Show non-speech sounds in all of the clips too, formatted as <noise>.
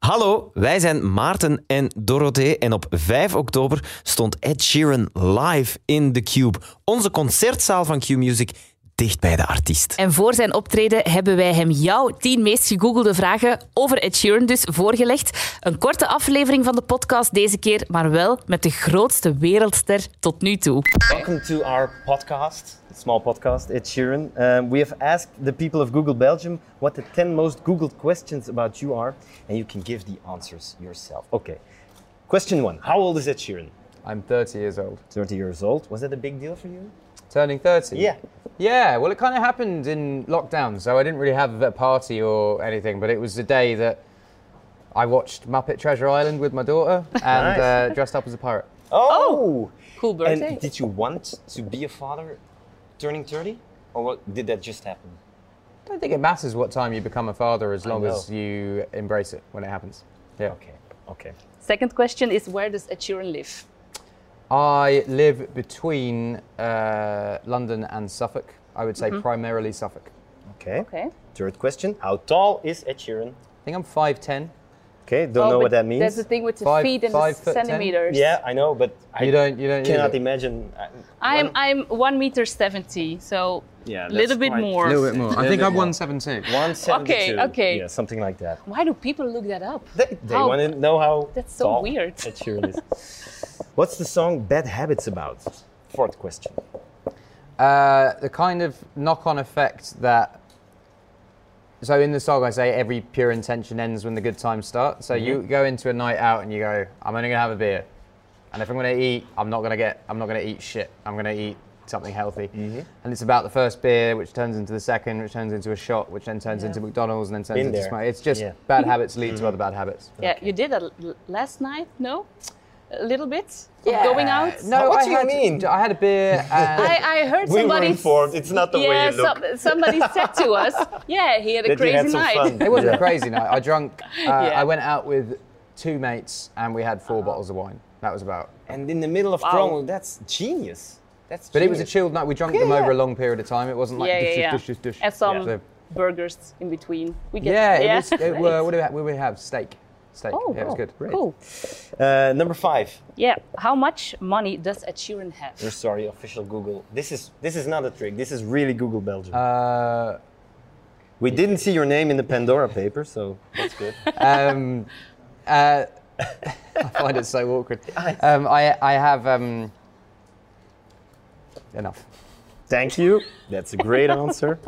Hallo, wij zijn Maarten en Dorothee en op 5 oktober stond Ed Sheeran live in The Cube, onze concertzaal van Q-Music, dicht bij de artiest. En voor zijn optreden hebben wij hem jouw 10 meest gegoogelde vragen over Ed Sheeran dus voorgelegd. Een korte aflevering van de podcast deze keer, maar wel met de grootste wereldster tot nu toe. Welcome to our podcast, small podcast, Ed Sheeran. Um, we have asked the people of Google Belgium what the 10 most Googled questions about you are, and you can give the answers yourself. Okay. Question one How old is Ed Sheeran? I'm 30 years old. 30 years old. Was that a big deal for you? Turning 30? Yeah. Yeah, well, it kind of happened in lockdown, so I didn't really have a party or anything, but it was the day that I watched Muppet Treasure Island with <laughs> my daughter and uh, dressed up as a pirate. Oh! Cool birthday. And did you want to be a father turning 30? Or what, did that just happen? I don't think it matters what time you become a father as long know. as you embrace it when it happens. Yeah. Okay, okay. Second question is where does Ed Sheeran live? I live between uh, London and Suffolk. I would Mm-hmm. say primarily Suffolk. Okay. Okay. Third question How tall is Ed Sheeran? I think I'm 5'10. Okay, don't know what that means. Oh, That's the thing with the Five- feet and five the foot ten? centimeters. Yeah, I know, but I You don't- you don't cannot either. imagine. Uh, I- I'm one- I'm one meter seventy, so Yeah, a that's little bit quite- more. I think bit I'm more. 172. 172. Okay, okay. Yeah, something like that. Why do people look that up? Oh, They, they How- want to know how. That's so tall weird. That sure is. What's the song Bad Habits about? Fourth question. Uh, the kind of knock-on effect that. So in the song, I say every pure intention ends when the good times start. So you Mm-hmm. go into a night out and you go, I'm only gonna have a beer, and if I'm gonna eat, I'm not gonna get, I'm not gonna eat shit. I'm gonna eat something healthy. Mm-hmm. And it's about the first beer, which turns into the second, which turns into a shot, which then turns into McDonald's, and then turns Been into there. smoke. It's just Yeah. Mm-hmm. bad habits lead to other bad habits. Yeah, you did that l- last night, no? A little bit? Of Going out? No, Uh, What I do you had, mean? I had a <laughs> beer and. I, I heard We were somebody. informed. It's not the way yeah, you look. some- somebody said to <laughs> us, yeah, he had a That you crazy had some night. <laughs> fun. It wasn't Yeah. a crazy night. I drunk. Uh, Yeah. Oh. I went out with two mates and we had four bottles of wine. That was about. And in the middle of Chrome, that's genius. That's. But it was a genius. chilled night. We drunk them over a long period of time. It wasn't like Yeah, yeah, yeah. dush, dush, dush, dush. And some So- burgers in between. We get, yeah, it was. <laughs> It, were, Right. what, did we have? what did we have? Steak. Steak. Oh, yeah, it was wow. good. Cool. Uh, number five. Yeah. How much money does Ed Sheeran have? We're sorry, official Google. This is this is not a trick. This is really Google Belgium. Uh, we didn't see your name in the Pandora paper, so that's <laughs> good. um, uh, <laughs> I find it so <laughs> awkward. Um, I, I have. Um, enough. Thank you. That's a great answer.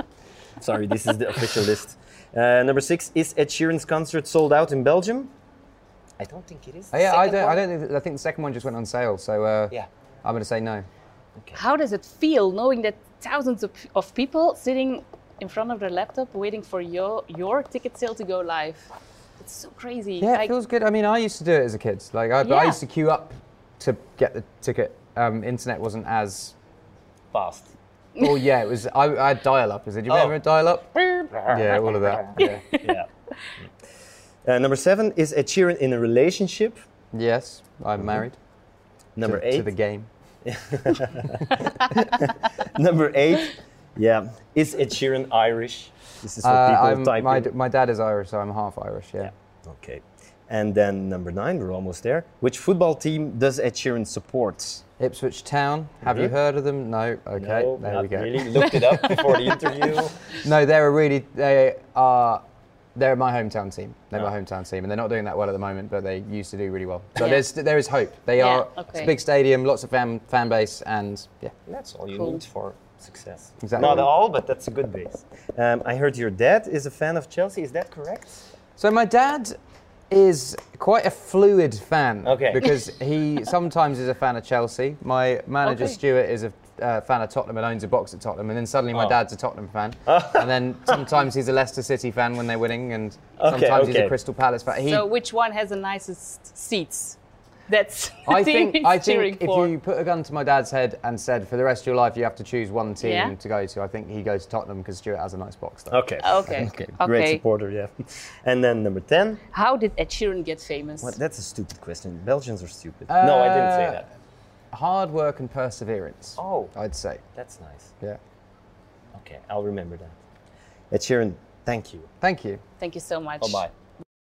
Sorry, this is the official list. Uh, number six is Ed Sheeran's concert sold out in Belgium? I don't think it is. Oh, yeah, I Second don't. I one? don't think. I think the second one just went on sale. So uh, Yeah. I'm gonna say no. How does it feel knowing that thousands of, of people sitting in front of their laptop waiting for your, your ticket sale to go live? It's so crazy. Yeah, Like, it feels good. I mean, I used to do it as a kid. Like, I, but I Yeah. used to queue up to get the ticket. Um, internet wasn't as. <laughs> Fast. Oh yeah, it was. I, I had dial-up. Is it? Do you Oh. remember dial-up? yeah, all of that. Yeah. <laughs> Yeah. Uh, number seven is Ed Sheeran in a relationship? yes, I'm married. Mm-hmm. Number to, eight. to the game. Number eight. Yeah. Is Ed Sheeran Irish? This is what Uh, people I'm- type my, in. d- my dad is Irish, so I'm half Irish. Yeah. Okay. And then number nine, we're almost there. Which football team does Ed Sheeran support? Ipswich Town. Have you Mhm. heard of them? No. Okay. no, there Oh, not we go. really. Looked it up before the <laughs> interview. No, they're a really. They are. They're my hometown team. They're my hometown team, and they're not doing that well at the moment, but they used to do really well. So Yeah. there's there is hope. They Yeah, are. It's okay. a big stadium, lots of fan fan base, and yeah. That's all you Cool. need for success. Exactly. Not all, but that's a good base. Um, I heard your dad is a fan of Chelsea. Is that correct? So my dad is quite a fluid fan. Okay. Because <laughs> he sometimes is a fan of Chelsea. My manager Okay. Stuart is a uh, fan of Tottenham and owns a box at Tottenham, and then suddenly my Oh. dad's a Tottenham <laughs> fan, and then sometimes he's a Leicester City fan when they're winning, and Okay, sometimes he's okay. a Crystal Palace fan. He- So which one has the nicest seats? That's <laughs> the <laughs> I team think he's I cheering think if for. you put a gun to my dad's head and said for the rest of your life you have to choose one team Yeah. to go to, I think he goes Tottenham because Stuart has a nice box. Though. Okay. Okay. Great Okay. supporter, yeah. <laughs> And then number 10. How did Ed Sheeran get famous? What? That's a stupid question. Belgians are stupid. no, I didn't say Uh, that. Hard work and perseverance. Oh. I'd say. That's nice. Yeah. Okay, I'll remember that. Ed Sheeran, thank you. Thank you. Thank you so much. Oh, Bye bye.